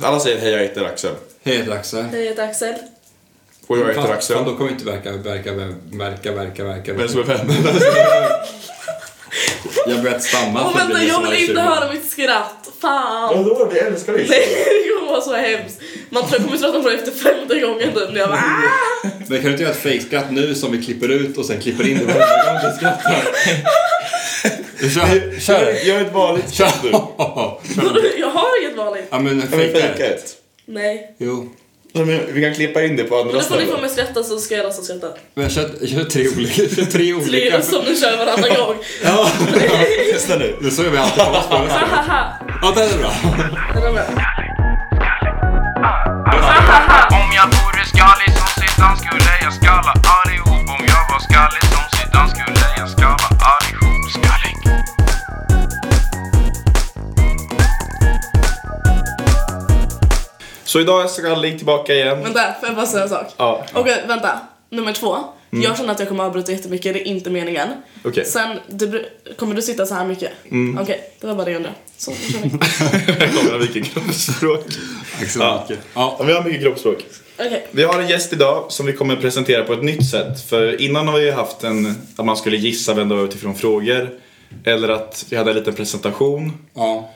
Alla säger hej, jag heter Axel. Hej, jag heter Axel. Jag heter Axel. Och jag heter Fan- fan, Axel. då kommer vi inte verka, verka, verka, verka, verka. Vem som är vem? Jag har börjat stamma. Åh vänta, tydligen, jag så här vill inte 20. höra mitt skratt. Fan. Vadå, vi älskar dig. Nej, det kommer vara så hemskt. Man tror jag kommer tröttna på det efter femte gången typ. Jag bara, "Ah!" Men kan du inte göra ett fejkskratt nu som vi klipper ut och sen klipper in det varje gång vi skrattar? Kör! Kör! Gör ett vanligt skratt nu. jag har inget vanligt. Ja men Ja, men fejka fejka det. ett. Nej. Jo. Ja, men Vi kan klippa in det på Men andra då får ni få ställen. mig skratta så ska jag alltså skratta. Men kör, kör tre olika. Kör tre Det olika. är som ni kör varannan gång. Ja, Testa nu. det är så gör vi alltid på oss Ha på ha ha. Ja, det är bra. Den är bra. Om jag vore skallig som Zidane skulle jag skalla allihop Om jag var skallig som Zidane skulle jag skalla allihop Skallig Så idag är Skallig tillbaka igen. Vänta, får jag bara säga en sak? Ja. Mm. Okej, vänta. Nummer två. Jag känner att jag kommer avbryta jättemycket, det är inte meningen. Okej. Mm. Sen, du, br- kommer du sitta så här mycket? Okej, det var bara det jag undrade. Så, då kör vi. Här kommer mycket kroppsspråk. Axel Ja. och Micke. Ja. Ja, vi har mycket kroppsspråk. Okej. Vi har en gäst idag som vi kommer presentera på ett nytt sätt. För innan har vi ju haft en, att man skulle gissa vem det var utifrån frågor. Eller att vi hade en liten presentation. ja.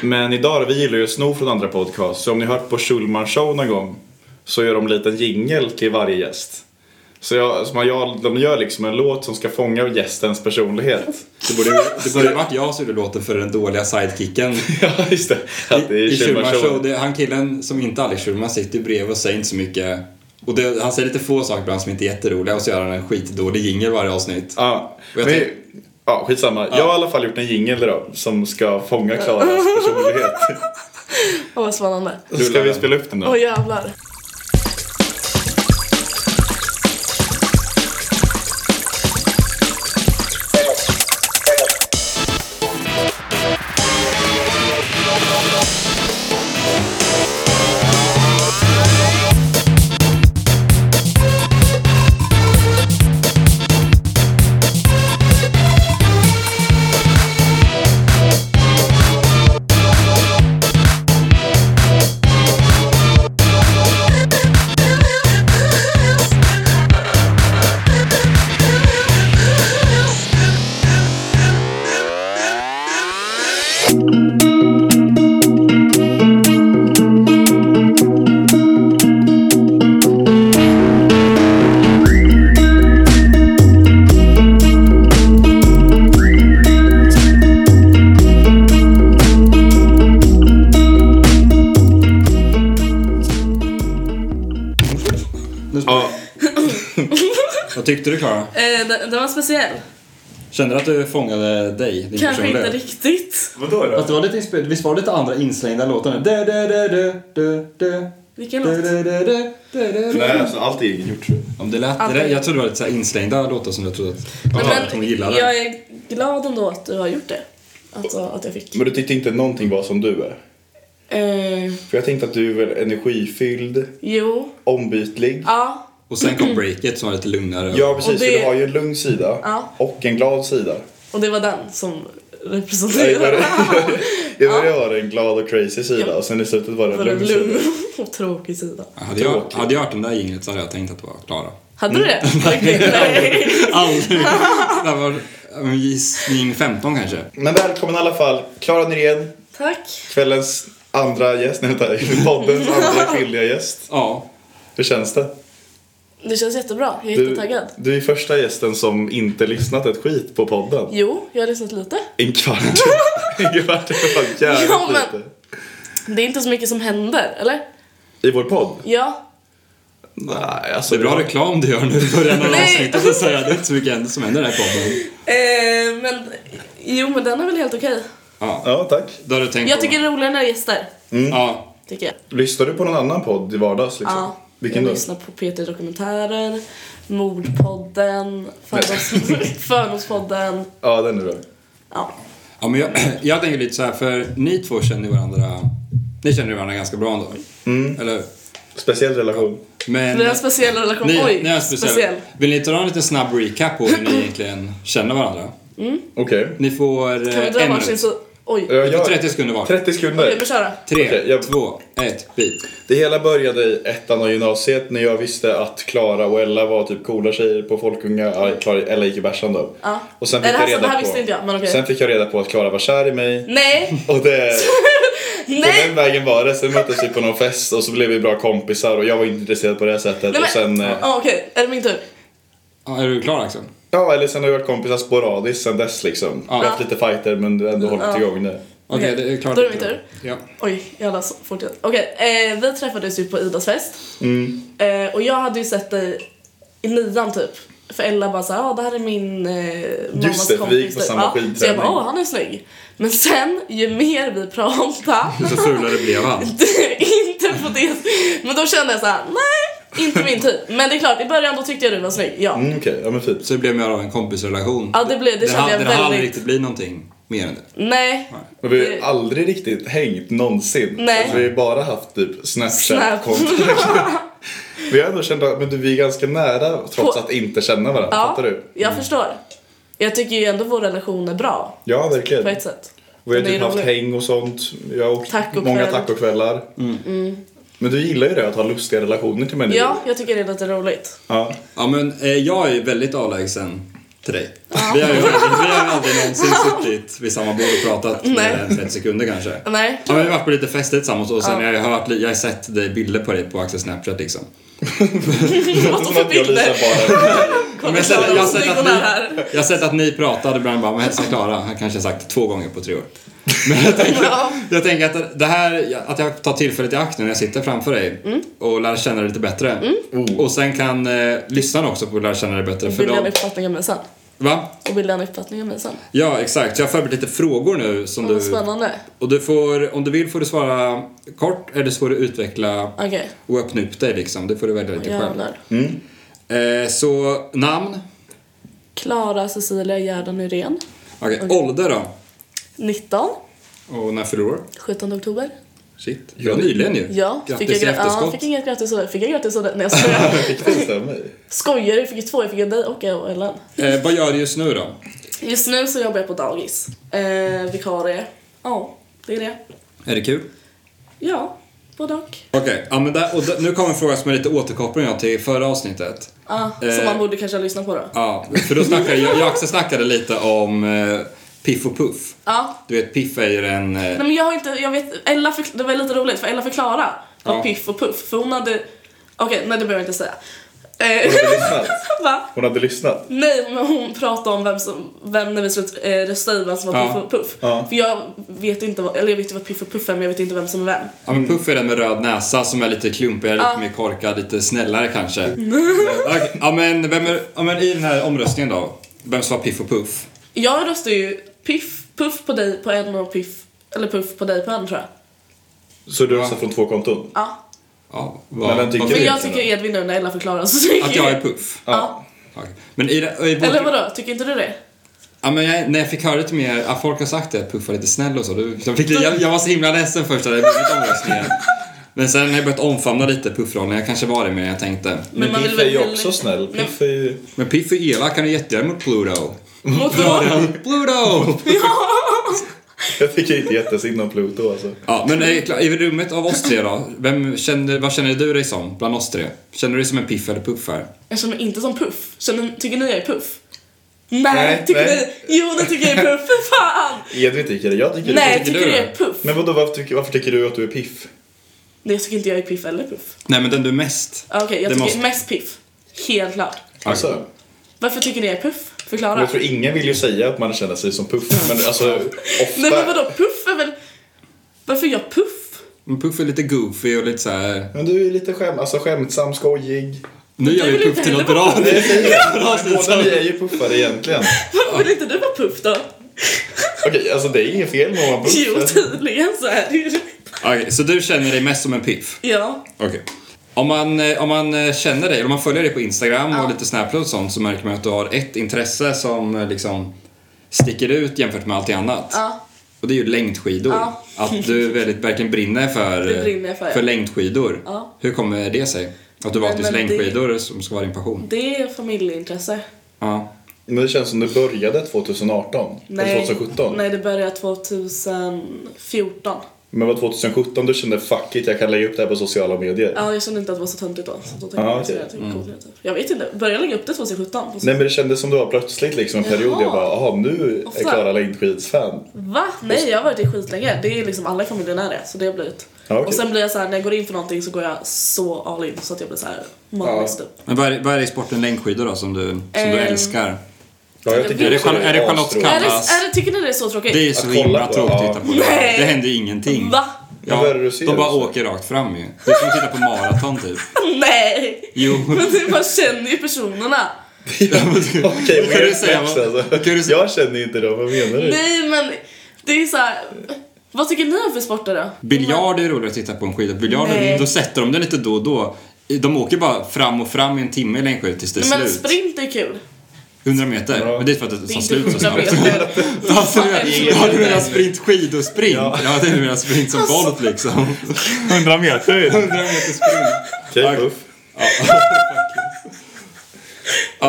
Men idag, vi gillar ju att sno från andra podcast. Så om ni har hört på Schulman show någon gång så gör de en liten jingel till varje gäst. Så jag, så man gör, de gör liksom en låt som ska fånga gästens personlighet. Det borde det borde varit jag som gjorde låten för den dåliga sidekicken. ja, just det. Att det är I Schulman Schulmans show, show. det, han killen som inte är Alex Schulman sitter ju bredvid och säger inte så mycket. Och det, han säger lite få saker ibland som inte är jätteroliga och så gör han en skitdålig jingel varje avsnitt. Ja, Och jag men- tänk- ja, skitsamma. Jag har i alla fall gjort en jingel idag som ska fånga Klaras personlighet. Åh, vad spännande. Så ska vi spela upp den då? Åh, jävlar. Nu- Ja, Vad tyckte du Klara? Eh, den, den var speciell. Kände du att du fångade dig? Din Kanske inte personlighet? riktigt. vadå då? Fast det var lite inspirerat, visst var det lite andra inslängda låtar nu? Dö, dö, dö, dö, dö, dö. Vilken Dö, låt? dö, dö, dö, dö, Nej, dö, dö. alltså allt är egengjort. Om det lät, det Aldrig. där, jag trodde det var lite så här inslängda låtar som jag trodde att, Nej, ja, att hon gillade. jag är glad ändå att du har gjort det. Alltså att jag fick. Men du tyckte inte någonting var som du är? Eh, För jag tänkte att du är väl energifylld, jo. ombytlig. Ja. Och sen kom breaket som var lite lugnare. Ja precis, Och för det- du har ju en lugn sida Ja. och en glad sida. Och det var den som Jag representerade. började, jag började ha en glad och crazy sida Ja. och sen i slutet var det På en den lugn sida. lugn och tråkig sida. Hade jag, Tråkigt. hade jag hört den där jinglet så hade jag tänkt att det var Klara. Hade du det? Mm. Okej, nej. Aldrig! det var en gissning 15 kanske. Men välkommen i alla fall, Klara Nyrén, Tack. kvällens andra gäst, nej vänta, poddens andra kvinnliga gäst. Ja. Hur känns det? Det känns jättebra. Jag är Du, jättetaggad. du är första gästen som inte lyssnat ett skit på podden. Jo, jag har lyssnat lite. En kvart. en kvart är fan jävligt Ja, men- lite. Det är inte så mycket som händer, eller? I vår podd? Ja. Nej, alltså Det är bra reklam du gör nu i början av Nej. avsnittet så säger jag det är inte så mycket som händer i den här podden. Eh, men, jo, men den är väl helt okej. Ja. Ja, tack. Då har du tänkt Jag på... tycker det är roligare när det är gäster. Ja. Tycker jag. Lyssnar du på någon annan podd i vardags? Liksom? Ja. Vilken jag då? lyssnar på P3 Dokumentärer, Mordpodden, Fördoms- Fördomspodden. Ja, den är bra. Ja. ja men jag, jag tänker lite så här för ni två känner ju varandra... Ni känner ju varandra ganska bra ändå. Mm. Eller hur? Speciell relation. Men... Vi har en speciell relation. ni, Oj, ni har en speciell. Vill ni ta en liten snabb recap på hur ni egentligen känner varandra? Okej. Ni får... Kan vi eh, dra en varsin minut. så... Oj. Jag Du får gör- 30 sekunder var. 30 Okej, sekunder. men köra. 3, Okej, jag- 2, 1, beep. Det hela började i ettan av gymnasiet när jag visste att Klara och Ella var typ coola tjejer på Folkunga. Ja, Klara, Ella gick i bärsan då. Ja. Och sen Nej, fick, det här- jag reda det här på, visste inte jag, men okej. sen fick jag reda på att Klara var kär i mig. Nej, Och det, på den nej! vägen var det. Sen möttes vi på någon fest och så blev vi bra kompisar och jag var inte intresserad på det här sättet. Nej och sen, men, eh, ja okej, är det min tur? Ja, är du klar Axel? ja, eller sen har vi varit kompisar sporadiskt sen dess liksom. Vi har haft lite fighter men du har Mm, ändå hållit igång nu. Okej, Okej, det är klart. då är det min tur. Ja. Oj, jävla så fort jag... Okej, eh, vi träffades ju på Idas fest. Mm. Eh, och jag hade ju sett dig i nian typ. För Ella bara såhär, ja ah, det här är min eh, mammas Just det, för kompis. vi gick på typ. samma Ja, Så jag skidträning. bara, åh han är snygg. Men sen, ju mer vi pratade Så fulare blev han. inte- inte på det. Men då kände jag så här: nej, inte min typ. Men det är klart, i början då tyckte jag du var snygg, ja. Mm, Okej, ja men fint. Så det blev mer av en kompisrelation. Ja, det blev- det det kände hann- jag det hann väldigt- aldrig riktigt bli någonting mer än det. Nej. Men vi har ju Det- aldrig riktigt hängt någonsin. Nej. Alltså, vi har ju bara haft typ Snap. Snapchat-kontakt. vi har ändå känt att men du, vi är ganska nära trots På- att inte känna varandra. Ja, Fattar du? Mm. jag förstår. Jag tycker ju ändå vår relation är bra, Ja, på verkligen. ett sätt. Vi har Den är typ haft rolig. häng och sånt. Jag har åkt Tacokväll. många tacokvällar. Men du gillar ju det att ha lustiga relationer till människor. Mm. Ja, jag tycker det är lite roligt. ja. Ja, men eh, jag är väldigt avlägsen till dig. Vi har ju aldrig, vi har ju aldrig någonsin suttit vid samma bord och pratat Nej. mer än 30 sekunder kanske. Nej. Ja, men vi har varit på lite fester tillsammans och sen har jag hört, jag har sett dig bilder på dig på Axels Snapchat liksom. Låter som att jag bilder. visar bara. Men jag, har sett, jag, har sett att Ögonögon ni, här. jag har sett att ni pratade ibland bara, men hälsa Klara. Han kanske har sagt två gånger på tre år. Ja. Jag tänker att det här, att jag tar tillfället i akt nu när jag sitter framför dig Mm. och lär känna dig lite bättre. Och sen kan eh, lyssnarna också få lära känna dig bättre. Och För bilda en de, uppfattning om mig sen. va? Och bilda en uppfattning om mig sen. Ja, exakt. Så jag har förberett lite frågor nu som Vad du... spännande. Och du får, om du vill får du svara kort eller så får du utveckla Okej, och öppna upp dig liksom. Det får du välja lite jävlar. själv. Eh, så namn. Klara Cecilia Gerda Nyrén. Okej, ålder då? 19. Och när fyller du år? 17 oktober. Shit. Ja, nyligen ju. Ja, Grattis fick i jag, gra- ja, efterskott. fick jag inget grattis av dig? Fick jag grattis av dig? Nej jag skojar. Fick det stämma i? skojar du? Fick ju två, jag fick av dig och jag och Ellen. eh, vad gör du just nu då? Just nu så jobbar jag på dagis. Eh, vikarie. Ja, det är det. Är det kul? Ja, både och. Okej, ja, men där, och där, nu kommer en fråga som är lite återkoppling ja, till förra avsnittet. Ah, Eh. Som man borde kanske ha lyssnat på då. Ja, för då snackade jag, jag och Axel snackade lite om eh, Piff och Puff. Ja. Du vet, Piff är ju en... Eh, Nej men jag har inte, jag vet, Ella för, det var lite roligt för Ella förklarade vad Ja. piff och puff, för hon hade, okej nej det behöver jag inte säga. Eh, Hon hade lyssnat. va? Hon hade lyssnat. Nej men hon pratade om vem som, vem när vi skulle eh, rösta i vem som var Ja. piff och puff. Ja. För jag vet inte, vad, eller jag vet ju vad piff och puff är men jag vet inte vem som är vem. Ja men Puff är den med röd näsa som är lite klumpigare, lite mer korkad, lite snällare kanske. Mm. Eh, Okej, ja, men, vem är, ja men i den här omröstningen då, vem som var Piff och Puff? Jag röstar ju piff, puff på dig på en och piff, eller puff på dig på en tror jag. Så du röstade från två konton? Ja. Ja, vad, Men vem tycker vad du? Men fel. jag tycker Edvin nu när Ella förklarar så tycker Att jag är Puff? Ja. Okej. Men i, det- i vår, Eller vadå, tycker inte du det? Ja men jag, när jag fick höra lite mer, ja, folk har sagt det, att Puff var lite snäll och så. Då- Jag, fick, jag, jag var så himla ledsen först när det blev omröstningen. Men sen har jag börjat omfamna lite Puff-rollen, jag kanske var det mer än jag tänkte. Men, man vill Piff är ju väl- också snäll. Men- Piff är ju... Men Piff är elak, han är jättegärna mot Pluto. Mot Pluto! Jag tycker inte jättesynd om Pluto alltså. Ja, men är klar, i rummet av oss tre då, vem känner, vad känner du dig som bland oss tre? Känner du dig som en piff eller puff här? Jag känner mig inte som Puff. Känner, tycker ni jag är Puff? Nej, Nej, tycker nej. ni? Jo, ni tycker jag är Puff, för fan! Edvin tycker det, jag tycker nej, det. tycker du du jag då? är Puff? Men vadå, varför tycker, varför tycker du att du är piff? Nej, jag tycker inte jag är Piff eller Puff. Ah, Nej men den du är mest. Okej, jag Det tycker måste- mest Piff. Helt klart. Alltså, Varför tycker ni jag är Puff? Förklara. men jag tror ingen vill ju säga att man känner sig som puff. Men alltså, ofta... Nej, men vadå? Puff är väl... Varför är jag Puff? Men puff är lite goofy och lite så här. Men du är lite skäm, alltså, skämtsam, skojig. Nu gör Du vi vill puff inte till något heller bra. Alltså, Båda vi är ju puffare egentligen. Varför vill inte du vara Puff då? Okej, alltså det är inget fel med att vara Jo, puff. tydligen så är det ju. Okej, så du känner dig mest som en piff? Ja. Okej. Om man, eh, om man eh, känner dig, eller om man följer dig på Instagram och lite Snapchat och sånt så märker man att du har ett intresse som eh, liksom sticker ut jämfört med allt annat. Ja. Och det är ju längdskidor. Ja. Att du väldigt, verkligen brinner för, Det brinner jag för, ja. längdskidor. Ja. Hur kommer det sig? Att du valt Nej, just men det- längdskidor som ska vara din passion? Det är familjeintresse. Ja. Men det känns som det började 2018. Eller 2017. nej, det började 2014. Men var 2017 du kände fuck it, jag kan lägga upp det här på sociala medier? Ja, jag kände inte att det var så töntigt då. Så då tänkte Ah, jag, okej. jag, tänkte, coolare, typ. jag vet inte, började jag lägga upp det 2017? Nej men det kändes som det var plötsligt liksom en period Jaha. jag bara, jaha nu är Ofta. Klara Längdskids-fan. Va? Nej, jag har varit det skitlänge. Det är liksom alla i familjen är det, så det har blivit. Ja, okej. Och sen blir jag så här, när jag går in för någonting så går jag så all in så att jag blir så här manisk Ja. typ. Men vad är, vad är det i sporten längdskidor då som du, som du Ehm, älskar? Ja, jag tycker Är det också Char- är det Charlotte astråkigt. Kalla? Är det, Kallas- är det, tycker ni det är så tråkigt? Det är så Att kolla himla på, tråkigt att ja. titta på. Det, Nej. det händer ju ingenting. Va? Ja, vad är det du ser de bara då? åker rakt fram ju. Det är som att titta på maraton typ. Nej! Jo. Men du bara känner ju personerna. Okej, Kan du weird säga snaps vad- alltså. kan du säga- Jag känner ju inte dem, vad menar du? Nej men det är så här. Vad tycker ni om för sporter då? Biljard är roligt att titta på en skida. Biljard, Nej. då sätter de den lite då och då. De åker bara fram och fram i en timme i längdskidor tills det är Nej, men slut. sprint är kul. 100 meter. Ja. Men det är för att det Det tar är inte slut så 100 snabbt. meter. Alltså, Fan, ja, du menar sprint, skidosprint? Ja, Ja. ja du menar sprint som Alltså- Bolt liksom. 100 meter? 100 meter sprint. Okej, puff.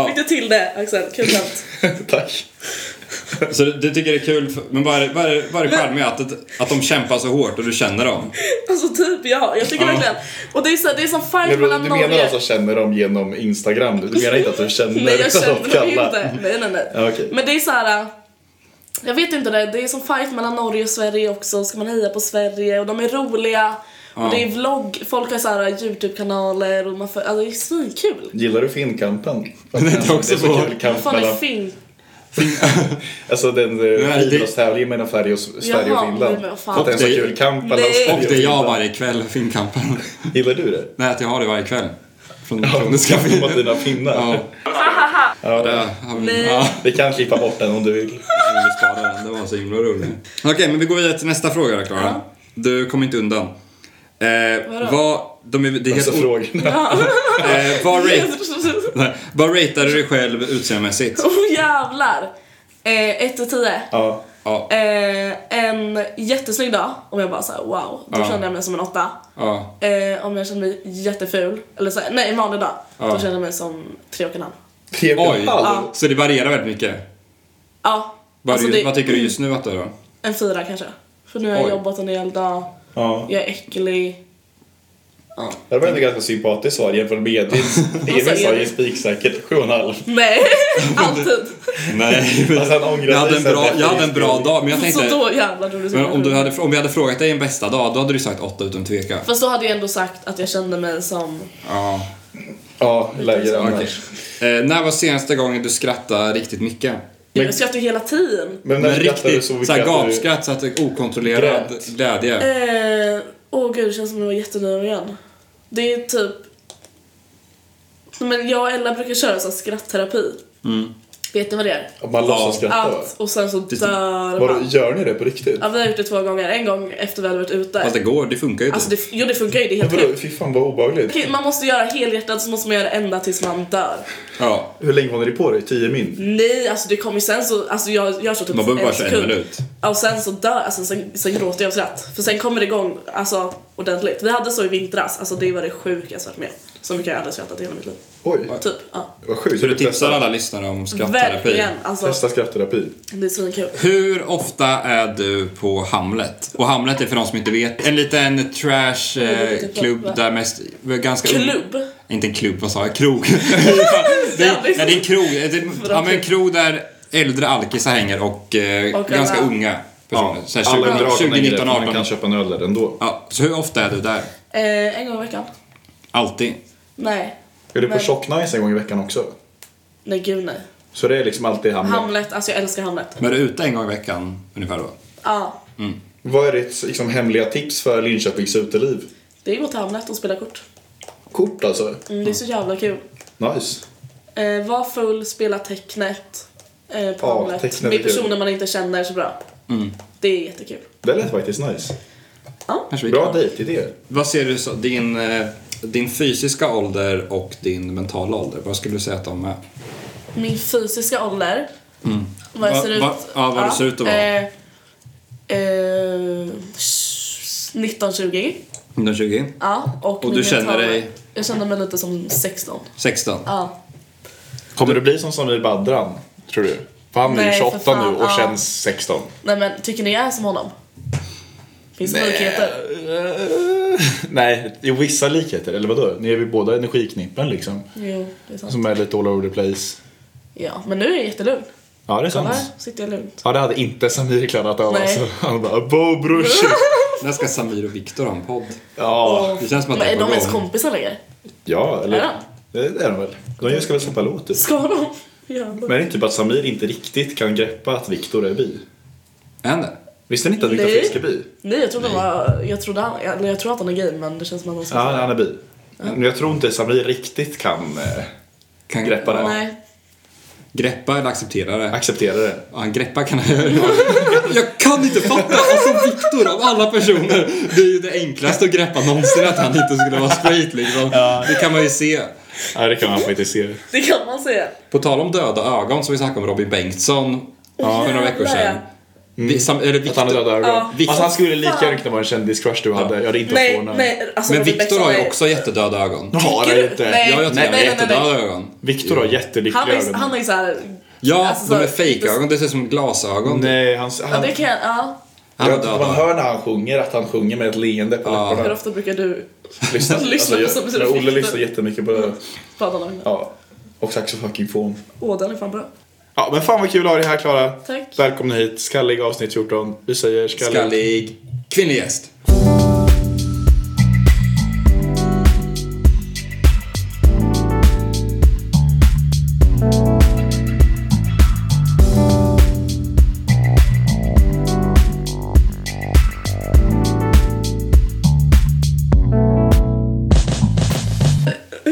Fick du till det Axel? Kul skämt. Tack. Så du, du tycker det är kul, för, men vad är det- vad är det- vad är det charmiga? Att, att, att de kämpar så hårt och du känner dem? Alltså typ ja, jag tycker Ja. verkligen. Och det är, så här, det är som fight Men mellan du menar Norge. alltså känner dem genom Instagram? Du menar inte att du känner Nej jag Charlotte känner mig Kalla? inte. Nej nej nej. Ja, okej. Men det är så här. äh, Jag vet inte det, det är som fight mellan Norge och Sverige också. Ska man heja på Sverige? Och de är roliga. Ja. Och det är vlogg, folk har så här äh, Youtube-kanaler och man får, alltså det är svinkul. Gillar du Finnkampen? det är också så på- kul kamp Fan är mellan... fint. Alltså den Nej, eh, det- idrottstävlingen mellan Sverige och, Sverige och Jaha, Finland. men vad fan. Att det är en så Och det- kul kamp mellan Nej. Sverige Och det är jag Finland. varje kväll, filmkampen. Gillar du det? Nej, att jag har det varje kväll. Från Ja, från ska Skaffa filmen. dina pinnar. Ja. Ja, där har vi- Nej. ja, Vi kan klippa bort den om du vill. vi sparar den. Det var så himla roligt. Okej, men vi går vidare till nästa fråga då, Klara. Ja. Du kommer inte undan. Eh, Vadå? vad, de är, det är Alltså helt o- frågorna. eh, vad, rate, nej, vad ratear du dig själv utseendemässigt? oh jävlar! 1 till 10. Ja. Ja, Eh, en jättesnygg dag, om jag bara såhär wow, då Ja. kände jag mig som en åtta. ja. Eh, om jag kände mig jätteful, eller så här, nej en vanlig dag, Ja. då kände jag mig som tre och en halv. Tre och Oj, en halv. så det varierar väldigt mycket. Ja, Vad, alltså du- det- vad tycker du just nu att du är då? en fyra kanske. För nu har jag Oj. jobbat en hel dag, Ja. jag är äcklig. Det var ändå ganska sympatiskt svar jämfört med Edvins. Edvin sa ju Alltså, Edvin? spiksäkert sju och en halv. Nej, alltid. Nej, men- Alltså, han ångrar jag hade sig en sen bra, efter jag hade en bra inspelningen. dag, men jag Så tänkte... då jävlar tror du Alltså, så Men om, du mycket. hade, om vi hade frågat dig en bästa dag, då hade du sagt åtta utan tveka. Fast då hade jag ändå sagt att jag kände mig som Ja, Ja, lägre okej. annars. Eh, när var senaste gången du skrattade riktigt mycket? Men jag skrattar ju hela tiden. Men när Men skrattar du riktigt så mycket såhär att du- gapskratt, så att det är okontrollerad Grät. glädje. Eh, Åh gud, det känns som att jag var jättenöjd igen. Det är typ... Men jag och Ella brukar köra så här skrattterapi. Mm. Vet ni vad det är? Att man låtsas skratta va? Allt och sen så är- typ dör Vadå, man. gör ni det på riktigt? Ja, vi har gjort det två gånger. En gång efter vi hade varit ute. Fast det går, det funkar ju inte. Alltså det, jo det funkar ju, det är Men helt Vadå, sjukt. fy fan vad obehagligt. Okej, Man måste göra helhjärtat så måste man göra det ända tills man dör. ja, Hur länge håller ni på det? Tio min? Nej, alltså det kommer ju sen så, alltså jag gör så typ man behöver bara köra en sekund. minut. Ja, Och sen så dör, alltså sen, sen gråter jag av skratt. För sen kommer det igång, alltså ordentligt. Vi hade så i vintras, alltså det var det sjukaste jag varit med om. Så mycket jag aldrig skrattat i hela mitt liv. Oj, Typ, ja. vad sjukt. Så du tipsar alla lyssnare om skrattterapi. Verkligen, alltså Testa skrattterapi. det är svinkul. Hur ofta är du på Hamlet? Och Hamlet är för de som inte vet en liten liten trash-klubb klubb, va? där mest... ganska ung- Klubb? Inte en klubb, vad sa jag? Krog. det, är- nej, Jävligt. det är en krog. Det, ja, men en krog där äldre alkisar hänger och, eh, Och ganska alla- unga personer. Så här, 20, Alla under 18 20, längre, 19, för man kan 18. köpa en öl där ändå. Ja, så hur ofta är du där? Eh, en gång i veckan? Alltid? Nej. Är du på Men- Tjocknice en gång i veckan också? Nej gud nej. Så det är liksom alltid Hamlet? Hamlet, alltså jag älskar Hamlet. Men är du ute en gång i veckan ungefär då? Ja. Vad är ditt liksom, hemliga tips för Linköpings uteliv? Det är att gå till Hamlet och spela kort. Kort alltså? Mm, det är så jävla kul. Nice. Eh, var full, spela tecknet eh, på Ja, Hamlet. tecknet är Med kul. personer man inte känner så bra. Mm. Det är jättekul. Det lät faktiskt nice. Ja. Kanske vi Bra kan- dejtidé. Vad ser du så, din, eh, din fysiska ålder och din mentala ålder? Vad skulle du säga att de är? Min fysiska ålder. Vad Mm. Va- jag ser ut. va- ja, vad du ser ut att vara. Eh, eh, 19-20. 120? Ja, och Och min du känner mentala- dig- Jag känner mig lite som 16. 16? Ja. Kommer du bli som Samir Badran? Tror du? För han är ju Nej, för 28 fan, nu och ja. känns 16. Nej men tycker ni jag är som honom? Finns det likheter? Eh, Nej, det är vissa likheter. Eller vadå? Ni är vi båda energiknippen liksom. Jo, det är sant. Som är lite all over the place. Ja, men nu är jag jättelugn. Ja, det är sant. Kolla här, sitter jag lugnt. Ja, det hade inte Samir klarat av Nej. alltså. Han bara bo brorsan. När ska Samir och Viktor ha en podd? Ja. det känns som att men det är är på de ens gång. kompisar längre? Ja, eller? Ja. Det är de väl. De ska väl släppa låt typ. Ska de? Jävlar. Men är det typ att Samir inte riktigt kan greppa att Viktor är bi? Är han det? Visste ni inte att Viktor Nej. Frisk är bi? Nej, jag trodde, Var, jag, trodde han, eller jag tror att han är gay men det känns som att han ska... Ja, han är bi. Men jag tror inte Samir riktigt kan eh, Kan Greppa det. Nej. Greppa eller acceptera det? acceptera det. Ja, han greppar kan han göra. Jag kan inte fatta! Alltså Viktor av alla personer, det är ju det enklaste att greppa någonsin att han inte skulle vara straight liksom. Det kan man ju se. Nej, det kan man faktiskt se. Det kan man säga. På tal om döda ögon som vi snackade om Robin Bengtsson för några veckor jävlar, sedan. Vi, sam, eller Att han har Viktor, döda ögon. Ja. Alltså han skulle lika gärna kunna vara en kändiscrush du hade. Jag hade inte varit Nej, förvånad. nej. Alltså, men Robin Viktor Bengtsson har ju är- också jättedöda ögon. Han har Tycker du? det inte. Nej. Ja, jag tycker Nej, han har nej, nej, nej. jättedöda ögon. Viktor har jättelyckliga Han är ju ögon. han är ju såhär... Ja, Alltså, de är så- fejkögon. Det ser ut som glasögon. Nej, han... Ja, han det kan jag... Ja. Han har Jag- man döda ögon. hör när han sjunger att han sjunger med ett leende på Hur läpparna. ofta brukar du Lyssna, Lyssna på jag- som- som när Olle Victor. lyssnar jättemycket på det. prata om det? Ja. Och saxofon. Åh, den är fan bra. Ja, men fan vad kul att ha dig här Klara. Tack. Välkomna hit. Skallig avsnitt 14. Vi säger skallig. Skallig. Kvinnlig gäst.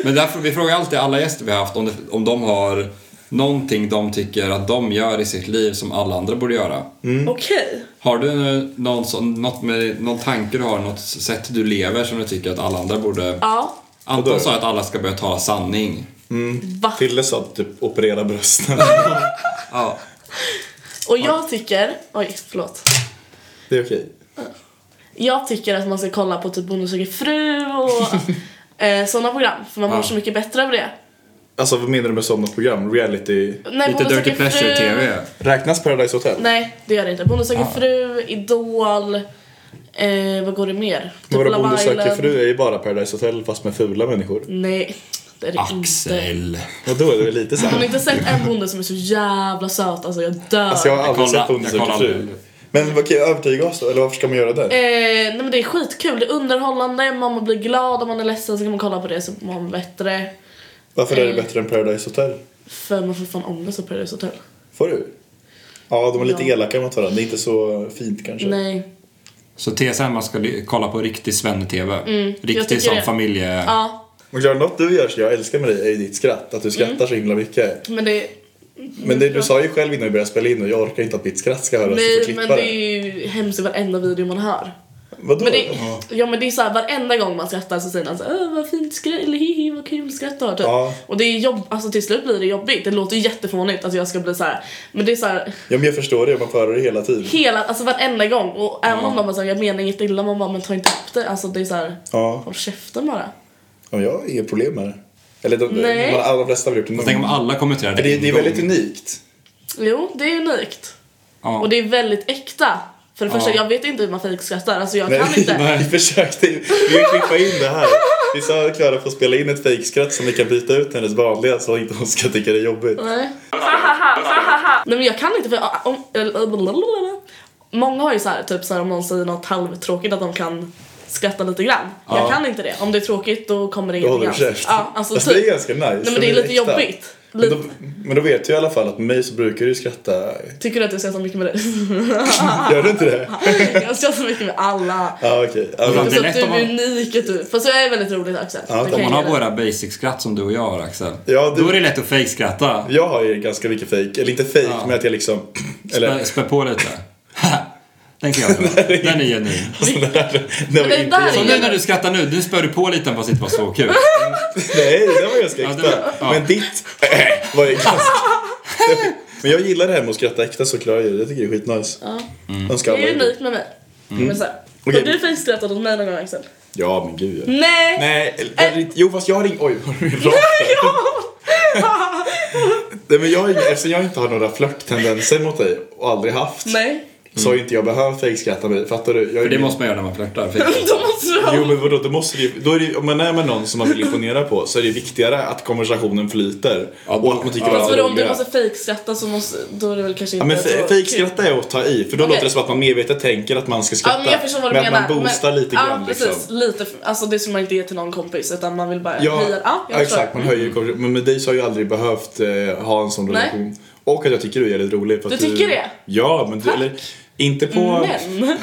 Men därför, vi frågar alltid alla gäster vi har haft om, det, om de har någonting de tycker att de gör i sitt liv som alla andra borde göra. Okej. Har du någon, sån, något med, någon tanke du har, något sätt du lever som du tycker att alla andra borde... Ja. Anton sa att alla ska börja tala sanning. Va? Till dess att typ operera brösten. Ja. Och jag tycker... Oj, förlåt. det är okej. Jag tycker att man ska kolla på typ Bonde söker fru och eh, sådana program. För man mår Ja. så mycket bättre av det. Alltså vad menar du med sådana program? Reality? Nej, Lite Bonde Dirty söker fru- Pleasure-TV. Räknas Paradise Hotel? Nej, det gör det inte. Bonde söker Ja. fru, Idol... Eh, vad går det mer? Typ Men vadå Love Bonde söker Island. fru är ju bara Paradise Hotel fast med fula människor. Nej, det är det inte. Axel. Och då är det väl lite Har ni såhär. inte sett en bonde som är så jävla söt? Alltså jag dör. Alltså jag har aldrig kollar- sett Bonde jag söker kollar fru. aldrig. Men okej, övertyga oss då. Eller varför ska man göra det? Eh, nej men det är skitkul, det är underhållande, man blir glad om man är ledsen så kan man kolla på det så mår man bättre. Varför är det eh. bättre än Paradise Hotel? För man får fan ångest typ. av Paradise Hotel. Får du? Ja, de är lite Ja. elaka mot varandra. Det är inte så fint kanske. Nej. Så TSN man ska li- kolla på riktig svenne-TV. Mm, jag riktig tycker som det. familje... Alltså, Ja, Och Klara, något du gör som jag älskar med dig är ju ditt skratt. Att du skrattar Mm. så himla mycket. men det... Men det, du sa ju själv innan vi började spela in och jag orkar inte att mitt skratt ska höras. du får Nej klippa men det är ju hemskt i varenda video man hör. Vadå? Men det, ja men det är såhär varenda gång man skrattar så säger han såhär "Åh, vad fint skratt, eller hihi vad kul skratt du har typ. Ja. Och det är jobb, alltså till slut blir det jobbigt, det låter ju jättefånigt att jag ska bli såhär. Men det är såhär Ja, men jag förstår det, man får höra det hela tiden. hela, alltså varenda gång och även om de bara såhär jag menar inget illa man bara men ta inte upp det, alltså det är såhär Ja, håll käften bara. ja men jag har inga problem med det. Eller de, Nej. de allra flesta har väl gjort det någon Tänk om gång. alla kommenterar Men det, det är en gång. väldigt unikt. Jo, det är unikt. Ja. Och det är väldigt äkta. För det första, Ja. jag vet inte hur man fejkskrattar. Alltså jag kan inte. Nej, vi försökte ju vi vill klippa in det här. Vi sa att Klara får spela in ett fejkskratt som vi kan byta ut hennes vanliga så inte hon ska tycka det är jobbigt. Nej. Nej men jag kan inte för jag- om, Många har ju så här, typ så här, om någon säger något halvtråkigt att de kan skratta lite grann. Jag kan inte det. Om det är tråkigt då kommer det Då ingenting håller du alls. käft. Ja, alltså Fast det är typ. ganska nice. Nej för men det är lite äkta. jobbigt. Men Lite. då, men då vet du i alla fall att med mig så brukar du skratta. Tycker du att jag skrattar mycket med dig? Ah. Gör du inte det? jag skrattar mycket med alla. Ja okej. Ja, Men men- det Det är är lätt att du om man- är unik är du. Fast jag är väldigt rolig också. Ja, om Det kan Om jag man har ge dig. våra basic-skratt som du och jag har Axel, Ja, du- då är det lätt att fejkskratta. Jag har ju ganska mycket fejk, eller inte fejk Ja. men att jag liksom... Spä, Eller, spä på lite. Den kan jag dra. Den är genuin. alltså, när, när vi det inte där gör- Så nu när du skrattar nu, nu spär du på lite fast det inte var så kul. Nej, det var ganska Ja, det äkta. var- ja. Men ditt äh, var ju ganska... men jag gillar det här med att skratta äkta såklart. Jag tycker det är skitnice. Ja. Mm. Önskar alla Det är gjorde. unikt med mig. Men så här, Okej. Har du fejkskrattat åt mig någon gång Axel? Ja men gud ja. Nej! Nej, eller, jo fast jag har ringt... Oj, var du min rakt? Nej, men jag, är- eftersom jag inte har några flörttendenser mot dig och aldrig haft Nej. så har ju inte jag behövt fejkskratta mig. Fattar du? Jag är För det måste man göra när man flörtar. För- Då måste du ha... Jo men vadå, då måste det, ju- då är det, ju- om man är med någon som man vill imponera på så är det viktigare att konversationen flyter Ja, och att man tycker ja. varandra Fast är vadå, om du roliga. Alltså, måste fejkskratta så måste... Då är det väl kanske Ja, inte men så fe- kul. fejkskratta är att ta i, för då Okej. låter det som att man medvetet tänker att man ska skratta. Ja men jag förstår vad du men menar. att man boostar men, lite grann ja, liksom. precis, lite, f- alltså det som man inte ger till någon kompis utan man vill bara Ja, höja. Ja, jag förstår. exakt. Man höjer Mm. ju konversationen. Men med dig så har jag aldrig behövt eh, ha en sån Nej. relation. Och att jag tycker du är jävligt rolig. För Du att tycker det? Mm, Ja, men du, eller inte på... Men,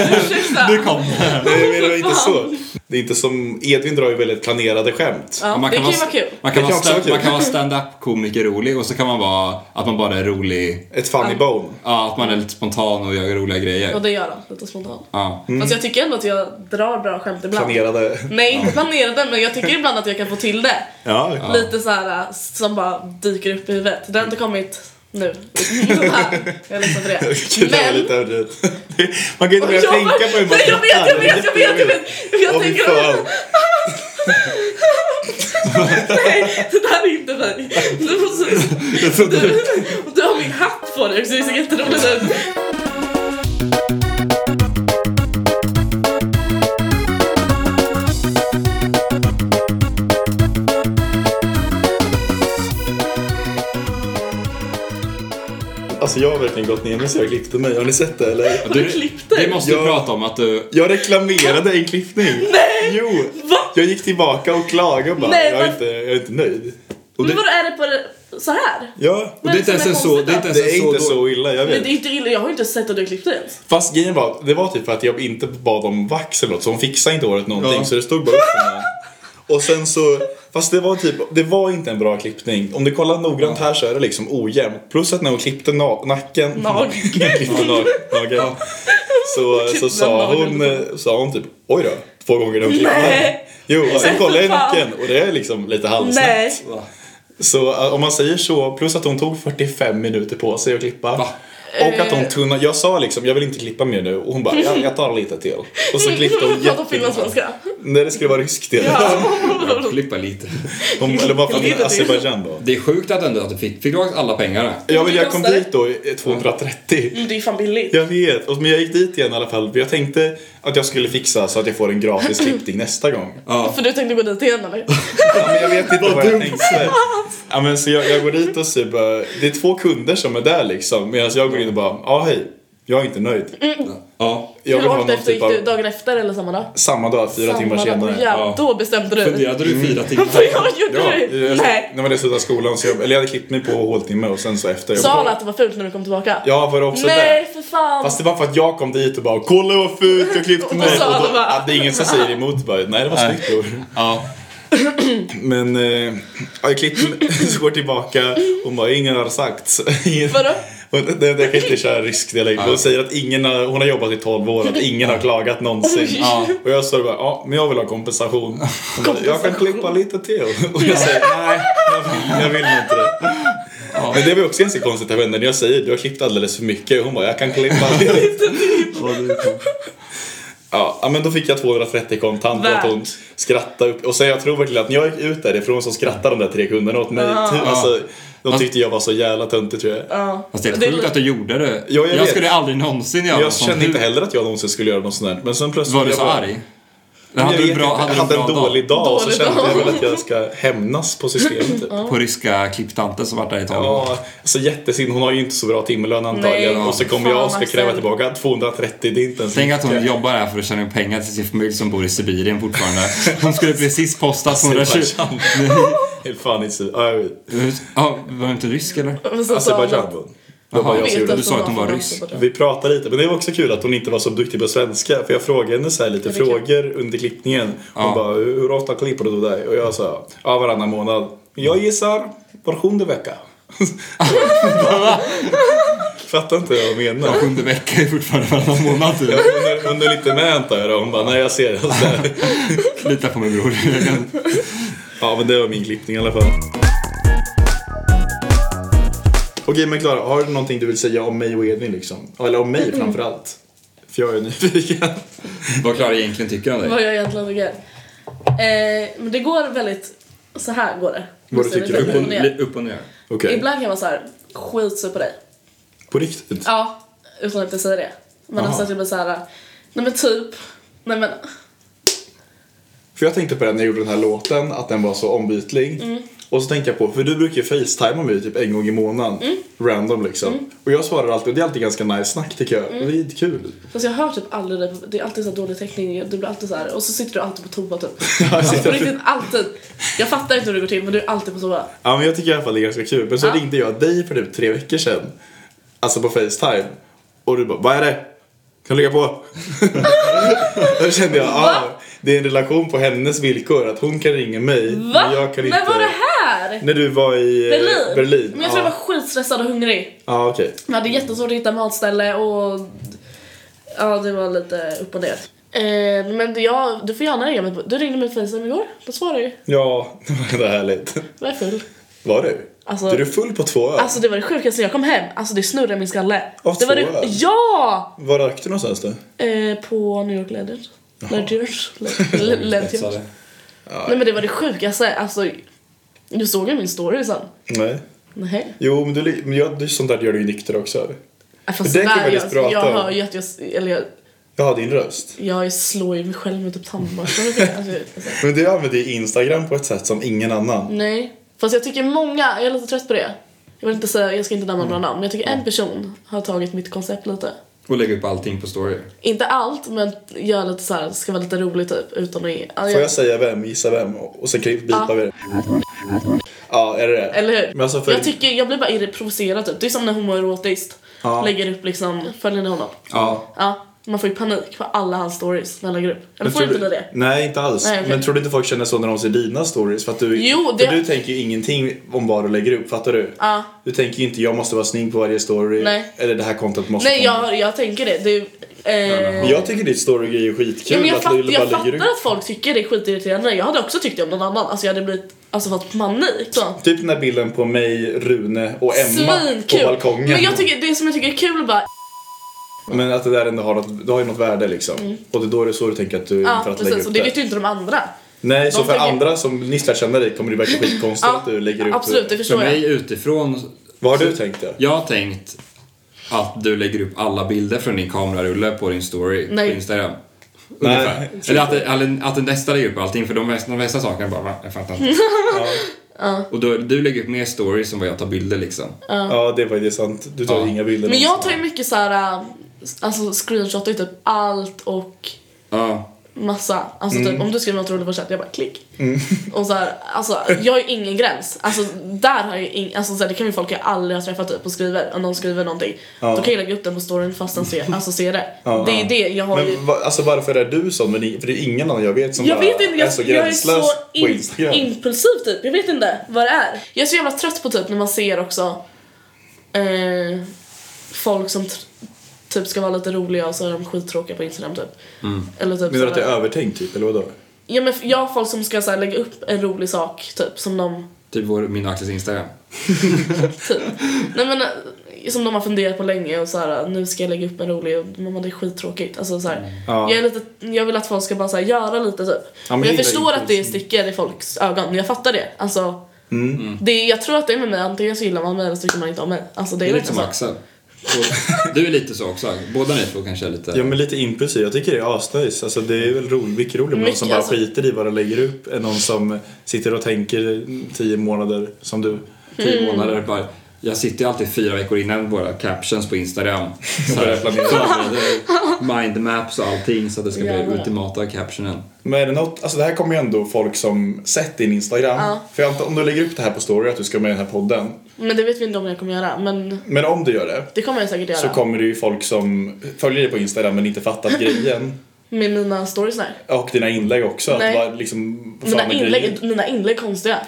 ursäkta. kom Nej, men det var inte så. Det är inte som, Edvin drar ju väldigt planerade skämt. Ja, man det kan ju vara- vara kul. Man kan, Det vara kan också stand- vara kul. man kan vara stand-up-komiker rolig och så kan man vara att man bara är rolig. Ett funny bone. Ja, att man är lite spontan och gör roliga Och grejer. det gör han, lite spontant. Ja. Mm. Fast jag tycker ändå att jag drar bra skämt ibland. Planerade. Nej, inte planerade men jag tycker ibland att jag kan få till det. Ja. Lite så här äh, som bara dyker upp i huvudet. Det har inte kommit nu. Så här, jag är ledsen för Gud, det var det. Men... lite överdrivet. Man kan ju inte börja Jag- tänka på hur man Nej, jag vet, skrattar. jag vet, jag vet, jag vet. Jag Åh, fy tänker- fan. Nej, det där är inte mig. Du, måste, du, du har min hatt på dig också, det ser jätteroligt ut. Alltså jag har verkligen gått ner mig så jag klippte mig. Har ni sett det eller? Du klippte. det måste vi Ja. prata om att du... Jag reklamerade en klippning. Nej! Jo! Va? Jag gick tillbaka och klagade och bara, Nej, jag, är vad- inte, jag är inte nöjd. Och Men det, vadå är det på det, så här? Ja. och det är inte ens en så... Det är inte ens Det är en alltså, så, inte då- så illa, jag Men det är vet. inte illa, jag har ju inte sett att du klippte ens. Fast grejen var, det var typ för att jag inte bad om vax eller något, så hon fixade inte året någonting Ja. så det stod bara upp för mig. Och sen så, fast det var typ, det var inte en bra klippning. Om du kollar noggrant här så är det liksom ojämnt. Plus att när hon klippte na- nacken, Nageln. klippte na- nageln. Så, så sa, hon, eh, sa hon typ oj då, två gånger när hon klippte. liksom. Nej. Jo, och sen Nej, kollade jag i för fan. nacken och det är liksom lite halvsnett. Nej. Så eh, om man säger så, plus att hon tog 45 minuter på sig att klippa. Va? Och att Eh. hon tunnade, jag sa liksom jag vill inte klippa mer nu och hon bara jag, jag tar lite till. Och så klippte hon Prata jättelångt. finlandssvenska. Nej det skulle vara rysk del. Klippa lite. Hon, eller var från Lite till. Azerbajdzjan då. Det är sjukt att ändå att du fick, fick du alla pengar. Jag, vill, jag kom Kostade. dit då i 230. Men det är fan billigt. Jag vet, och- men jag gick dit igen i alla fall för jag tänkte att jag skulle fixa så att jag får en gratis klippning nästa gång. Ja. För du tänkte gå dit igen eller? Ja, men jag vet inte vad jag tänkte. Ja, men så jag, jag går dit och så bara, det är två kunder som är där liksom medan jag går in och bara, ja hej, jag är inte nöjd. ja. Jag vill Hur ha Mm, åkte någon efter? typ Gick av, du dagen efter eller samma dag? samma dag, fyra Samma timmar dag. senare. Ja, Ja. då bestämde du. Funderade du i fyra timmar? Vad jag gjorde Ja, du? jag, Nej. när man slutade skolan så jag, eller jag hade klippt mig på håltimme och sen så efter. Sa han att det var fult när du kom tillbaka? Ja, var det också Nej det? för fan! Fast det var för att jag kom dit och bara kolla vad fult jag klippte Och mig. då sa Och han då, bara- ja, det är ingen som säger emot bara, nej det var snyggt bror. Ja. Men eh, ja, jag klippte mig, så går jag tillbaka och bara ingen har sagt. Ingen- Vadå? Och det, det, det kan jag inte köra rysk dialekt. Hon säger att ingen har, hon har jobbat i 12 år och att ingen har klagat någonsin. Oj. Ja. Och jag står bara, ja men jag vill ha kompensation. Hon Bara, jag kan klippa lite till. Och jag säger, nej jag vill, jag vill inte det. Men det var också ganska konstigt av henne när jag säger, du har klippt alldeles för mycket. Hon bara, jag kan klippa lite. typ. Ja, ja, men då fick jag 230 kontant och att hon Värt. skrattade upp. Och sen jag tror verkligen att när jag gick ut därifrån så skrattade de där tre kunderna åt mig. Alltså, de tyckte jag var så jävla töntig tror jag. Ja. Fast det är Det är helt sjukt lite- att du gjorde det. Ja, jag vet. skulle aldrig någonsin göra Jag något sånt. kände inte Hur- heller att jag någonsin skulle göra något sånt där. Men sen plötsligt... Var du jag så bara- arg? Jag hade du vet en bra, inte, hade jag du en hade en bra dag? dålig dag och så Dålig kände dag. jag väl att jag ska hämnas på systemet typ. På ryska klipptanter som varit där i tolv år. Ja, så jättesynd. Hon har ju inte så bra timlön antagligen. Nej, och så kommer fan, alltså. jag och ska kräva Axel. tjäga tillbaka 230, det är inte ens Tänk att hon mycket. jobbar här för att tjäna pengar till sin familj som bor i Sibirien fortfarande. Hon skulle precis posta 220... Helt fan inte så- ja, jag vet. Ja, var du inte rysk eller? Men så sa han Azerbajdzjan. att- då. Det var Jaha, jag som gjorde du det. sa att hon var från rysk. Azerbajdzjan. Vi pratade lite, men det var också kul att hon inte var så duktig på svenska. För jag frågade henne så här lite det är kul. frågor under klippningen. Hon Ja. bara, hur ofta klipper du dig? Och jag sa, ja varannan månad. Jag gissar var sjunde vecka. Fattar inte vad jag menar. Ja, sjunde vecka är fortfarande varannan månad. typ. Under, under lite med antar jag då. Hon bara, nej jag ser det. Så här. Lita på mig bror. Jag kan- Ja men det var min klippning i alla fall. Okej men Klara, har du någonting du vill säga om mig och Edvin liksom? Eller om Mm. mig framförallt? För jag är nyfiken. Vad Klara egentligen tycker om dig. Vad jag egentligen tycker. Eh, men det går väldigt... Så här går det. Vad du tycker Upp om och, li- upp och ner. Okej. Ibland kan jag vara så här, skitsur på dig. På riktigt? Ja, utan att jag säger det. Men Jaha. alltså att jag blir så här, nej men typ, nej men, För jag tänkte på det när jag gjorde den här låten, att den var så ombytlig. Mm. Och så tänkte jag på, för du brukar ju facetima mig typ en gång i månaden. Mm. Random liksom. Och jag svarar alltid, och det är alltid ganska nice snack tycker jag. Mm. Det är kul. alltså jag hör typ aldrig dig, på- det är alltid så här dålig täckning, du blir alltid så här, och så sitter du alltid på toa typ. Jag Alltså, på sitter- riktigt, alltid. Jag fattar inte hur det går till men du är alltid på toa. Ja men jag tycker i alla fall det är ganska kul. Men så Ja. ringde jag dig för typ tre veckor sedan. Alltså på Facetime. Och du bara, vad är det? Kan du lägga på? Då kände jag, ja. Det är en relation på hennes villkor. Att hon kan ringa mig. Va? Men jag kan inte. Men vad är det här? När du var i eh, Berlin? Berlin. Men jag tror ja. jag var skitstressad och hungrig. Ja okej. Jag hade jättesvårt att hitta matställe och ja, det var lite upp och ner. Eh, men jag, du får gärna ringa mig. på- Du ringde mig på Facetime igår. Då svarade jag ju. Ja, det var härligt. Jag är full. Var du? Alltså- är du full på två öl? Alltså det var det sjukaste. Jag kom hem. Alltså det snurrade i min skalle. Av det var två öl? det, Ja! Var rökte du någonstans då? Eh, på New York Ledgers. Ledgers. Le- Ledgers. Sa det. Nej men det var det sjukaste. Alltså, du såg ju min story sen. Nej. Nej. Jo, men, du, li- men jag, det är sånt där gör du ju nykter också. Ja, Fast Det kan vi där, faktiskt prata jag, jag om. hör ju att jag, eller jag, Ja, din röst. jag slår ju mig själv med typ tandborsten. Alltså, alltså, Men du använder ju Instagram på ett sätt som ingen annan. nej. Fast jag tycker många, jag är lite trött på det. Jag vill inte säga, jag ska inte Mm. nämna några namn, men jag tycker en person har tagit mitt koncept lite. Och lägga upp allting på story. Inte allt, men gör lite så här, ska vara lite rolig typ utan att ge. ja, Får jag säga vem, gissa vem och och sen klipp bipar Ja. vi det. Ja, är det det? Eller hur? Men alltså för, Jag, tycker, jag blir bara irri- provocerad typ. Det är som när homoerotiskt Ja. lägger upp liksom, följer ni honom? Ja. Ja. Man får ju panik på alla hans stories när han lägger upp. Eller Men får tror inte du- ni det? Nej, inte alls. Nej, okej. Men tror du inte folk känner så när de ser dina stories? För att du, Jo, för det- du tänker ju ingenting om vad du lägger upp, fattar du? Ja. Du tänker ju inte jag måste vara snygg på varje story. Nej. Eller det här kontot måste Nej, komma. jag, jag tänker det. det är, ju, eh, Men Jag tycker ditt storygrej är skitkul. Ja, men jag, att du fatt, jag lägger ut. fattar att folk tycker det är skitirriterande. Jag hade också tyckt det om någon annan. Alltså jag hade blivit, alltså fått panik. Så. Typ den där bilden på mig, Rune och Emma på balkongen. Men jag tycker, det som jag tycker är kul bara, Men att det där ändå har något, det har ju något värde liksom. Och det är då det är så du tänker att du Mm. ja för att lägga precis. upp Och det vet ju inte de andra. Nej, så de för tänker- andra som nyss lär känna dig kommer det verka skitkonstigt Ja, att du lägger upp absolut, det För förstår jag. mig utifrån, Vad har du tänkt då? jag har tänkt att du lägger upp alla bilder från din kamerarulle på din story Nej. på Instagram. Nej. Ungefär. Eller att, det- eller att den nästa lägger upp allting, för de flesta, de flesta sakerna bara, "Va? jag fattar inte. Och då, du lägger upp mer stories än vad jag tar bilder liksom. Ja, det var ju sant. Du tar Ja. inga bilder Men jag någonsin. tar ju mycket så här, äh, alltså screenshotar ju typ allt och Ja. massa. Alltså Mm. typ om du skriver något roligt på chatten, jag bara klick. Och så här, alltså jag har ju ingen gräns. Alltså där har jag ing- alltså så här, det kan ju folk jag aldrig har träffat typ och skriver, om någon skriver någonting. Ja. Då kan jag lägga upp den på storyn fast den ser, alltså ser det. Ja, det är ju ja. det, jag har ju Men va, alltså varför är du sån? Men ni- För det är ingen annan jag vet som Jag bara vet inte, jag, är så jag är så gränslös på in, Instagram. impulsiv typ. Jag vet inte vad det är. Jag är så jävla trött på typ när man ser också eh, folk som tr- typ ska vara lite roliga och så är de skittråkiga på Instagram typ. Eller Menar typ du så att det är här- övertänkt typ, eller vadå? Ja men f- jag har folk som ska så här, lägga upp en rolig sak typ som de Typ vår, min och Axels Instagram. typ. Nej men eh, som de har funderat på länge och så här nu ska jag lägga upp en rolig och mamma det är skittråkigt. Alltså så här, Ja. jag, är lite, jag vill att folk ska bara så här, göra lite typ. men men det jag Mm. är förstår att det impulsen. sticker i folks ögon, jag fattar det. Alltså, det jag tror att det är med mig, antingen så gillar man mig eller så tycker man inte om mig. Alltså, det Det är är lite verkligen som så. Axel. Och du är lite så också. Båda ni två kanske är lite... Ja men lite impulsiv, jag tycker det är asnice. Alltså det är väl roligt, mycket roligare med någon Mycket, som bara alltså. skiter i vad de lägger upp än någon som sitter och tänker tio månader som du. tio månader. Bara, jag sitter ju alltid fyra veckor innan våra captions på Instagram. Så här, Börjar planera. förbereder mindmaps och allting så att det ska bli Jävlar. ultimata captionen. Men är det något, alltså det här kommer ju ändå folk som sett din Instagram. Ja. För jag antar, om du lägger upp det här på story att du ska med i den här podden. Men det vet vi inte om jag kommer göra. Men Men om du gör det det kommer jag säkert göra. så kommer det ju folk som följer dig på Instagram men inte fattat grejen. Med mina stories där. Och dina inlägg också. Att Nej. vara liksom, vad fan Mina är grejen? inlägg, mina inlägg är konstiga.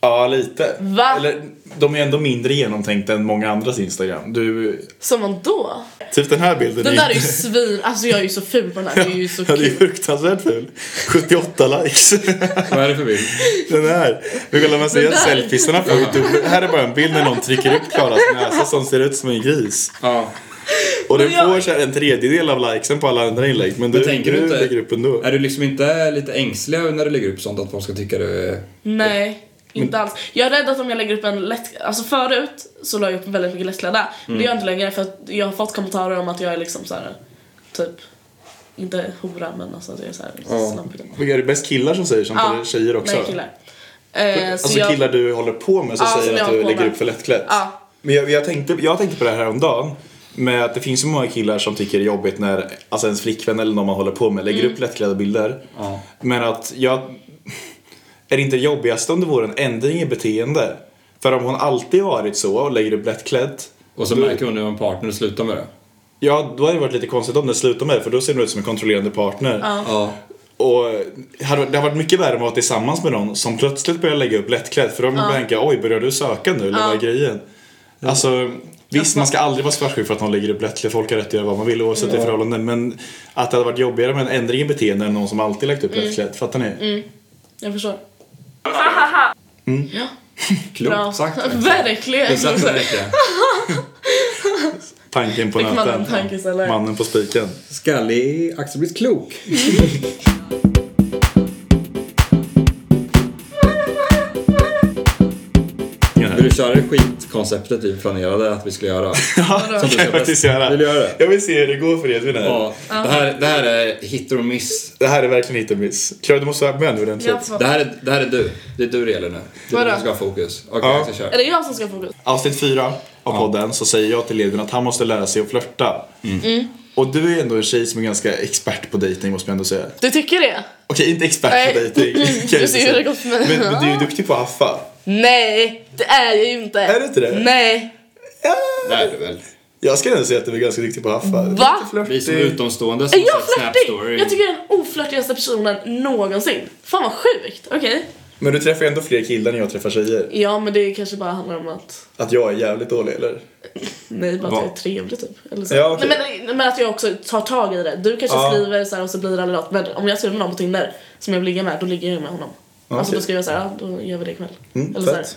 Ja, lite. Va? Eller, de är ändå mindre genomtänkta än många andras Instagram. Du, Som man då? typ den här bilden Den där är ju svin... Alltså jag är ju så ful på den här. Det är ju så Ja, det är kul. fruktansvärt ful. 78 likes. Vad är det för bild? Den här. Vi kollar man ser Den där. selfiesarna på Youtube. Här är bara en bild när någon trycker upp Klaras näsa som ser ut som en gris. Ja. Och den Men jag- får så här en tredjedel av likesen på alla andra inlägg. Men du, Men tänker du du inte- lägger upp ändå. Är du liksom inte lite ängslig när du lägger upp sånt att folk ska tycka du är... Nej. Inte alls. Jag är rädd att om jag lägger upp en lätt... Alltså förut så la jag upp väldigt mycket lättklädda. Men det gör jag inte längre för att jag har fått kommentarer om att jag är liksom så här typ... Inte hora men alltså att jag är såhär Ja. slampig. Men Är det mest killar som säger sånt eller tjejer också? Nej, killar. Eh, Alltså så jag, killar du håller på med som Ja, som säger jag att håller du på lägger med. upp för lättklätt. Ja. Men jag, jag, tänkte, jag tänkte på det här häromdagen. Med att det finns ju många killar som tycker det är jobbigt när alltså ens flickvän eller någon man håller på med lägger upp lättklädda bilder. Mm. Ja. Men att jag... Är det inte det jobbigaste om det vore en ändring i beteende? För om hon alltid varit så och lägger upp lättklätt. Och så då- märker hon nu en partner och slutar med det. Ja, då hade det varit lite konstigt om det slutade med det för då ser hon ut som en kontrollerande partner. Ja. Och hade- det har varit mycket värre om att vara tillsammans med någon som plötsligt börjar lägga upp lättklädd för de börjar tänka oj börjar du söka nu eller vad är grejen? Alltså visst man ska aldrig vara svartsjuk för att någon lägger upp lättklädd, folk har rätt att göra vad man vill oavsett i förhållanden men att det hade varit jobbigare med en ändring i beteende än någon som alltid lagt upp Mm. lättklädd, fattar ni? jag förstår. Ja, bra. Klokt sagt. Verkligen. Jag satt där inte. Tanken på Fick man en nöten, tankeställare? mannen på spiken. Skallig Axel blivit klok. Vill du köra det skitkonceptet vi planerade att vi skulle göra? Ja, Som det kan du jag ska faktiskt bäst. göra. Vill du göra det? Jag vill se hur det går för Edvin här. Ja. Det här, det här är hit or miss. Det här är verkligen hit och miss. Klara du måste vara med nu ordentligt. Jag får- Det här är, det här är du. Det är du det gäller nu. Det är du Vadå? som ska ha fokus. Okej, Ja. jag ska köra. Är det jag som ska få fokus? avsnitt fyra av podden så säger jag till Edvin att han måste lära sig att flörta. Mm. Och du är ändå en tjej som är ganska expert på dejting måste man ändå säga. Du tycker det? Okej, inte expert Nej. på dejting. kan jag Du inte ser hur säga. det gått för mig. Men, men du är ju duktig på att haffa. Nej, det är jag ju inte. Är du inte det? Nej. Ja. Det är du väl? Jag skulle ändå säga att du är ganska duktig på att haffa. Va? Vi som är utomstående Är som har jag sett Snap flörtig? Story. Jag tycker jag är den oflörtigaste personen någonsin. Fan vad sjukt. Okej. Men du träffar ju ändå fler killar än jag träffar tjejer. Ja men det kanske bara handlar om att Att jag är jävligt dålig eller? Nej bara att Va? jag är trevlig typ. Eller så. Ja, okej. nej, men, men att jag också tar tag i det. Du kanske Ja. skriver så här och så blir det aldrig något. Men om jag skriver med någon på Tinder som jag vill ligga med, då ligger jag med honom. Ja, Alltså okej. då skriver jag så här, ja, då gör vi det ikväll. Mm, Eller så här. fett.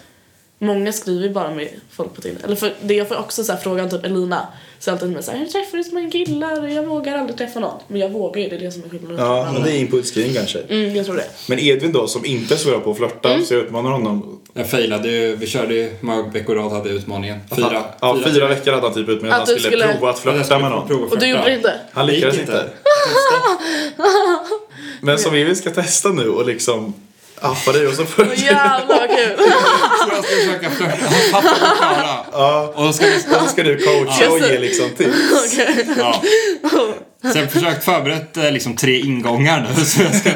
Många skriver ju bara med folk på Tinder. Eller för, det jag får också så här, frågan typ Elina säger alltid till mig så här, hur träffar du så många killar? Jag vågar aldrig träffa någon. Men jag vågar ju, det är det som är skillnaden. Ja, men det är inputscreen kanske. Mm, jag tror det. Mm. Men Edvin då, som inte är så bra på att flörta, Mm. så jag utmanar honom. Jag failade ju. Vi körde ju. Hur många veckor i rad hade jag utmaningen? Fyra. Ja, fyra, veckor hade han typ ut med att Att han du skulle, skulle- prova att Men jag flörta skulle med få någon. prova Och du första. gjorde det inte? Han Det gick lyckades inte. inte. Men som vi vill ska testa nu och liksom affa dig och så får Åh, Jävlar vad kul! Jag ska försöka flörta. Han fattar och Klara. ja, Och då ska vi... och så ska du coacha och ge liksom tips. Ja. Så jag har försökt förberett eh, liksom tre ingångar nu. Så jag ska...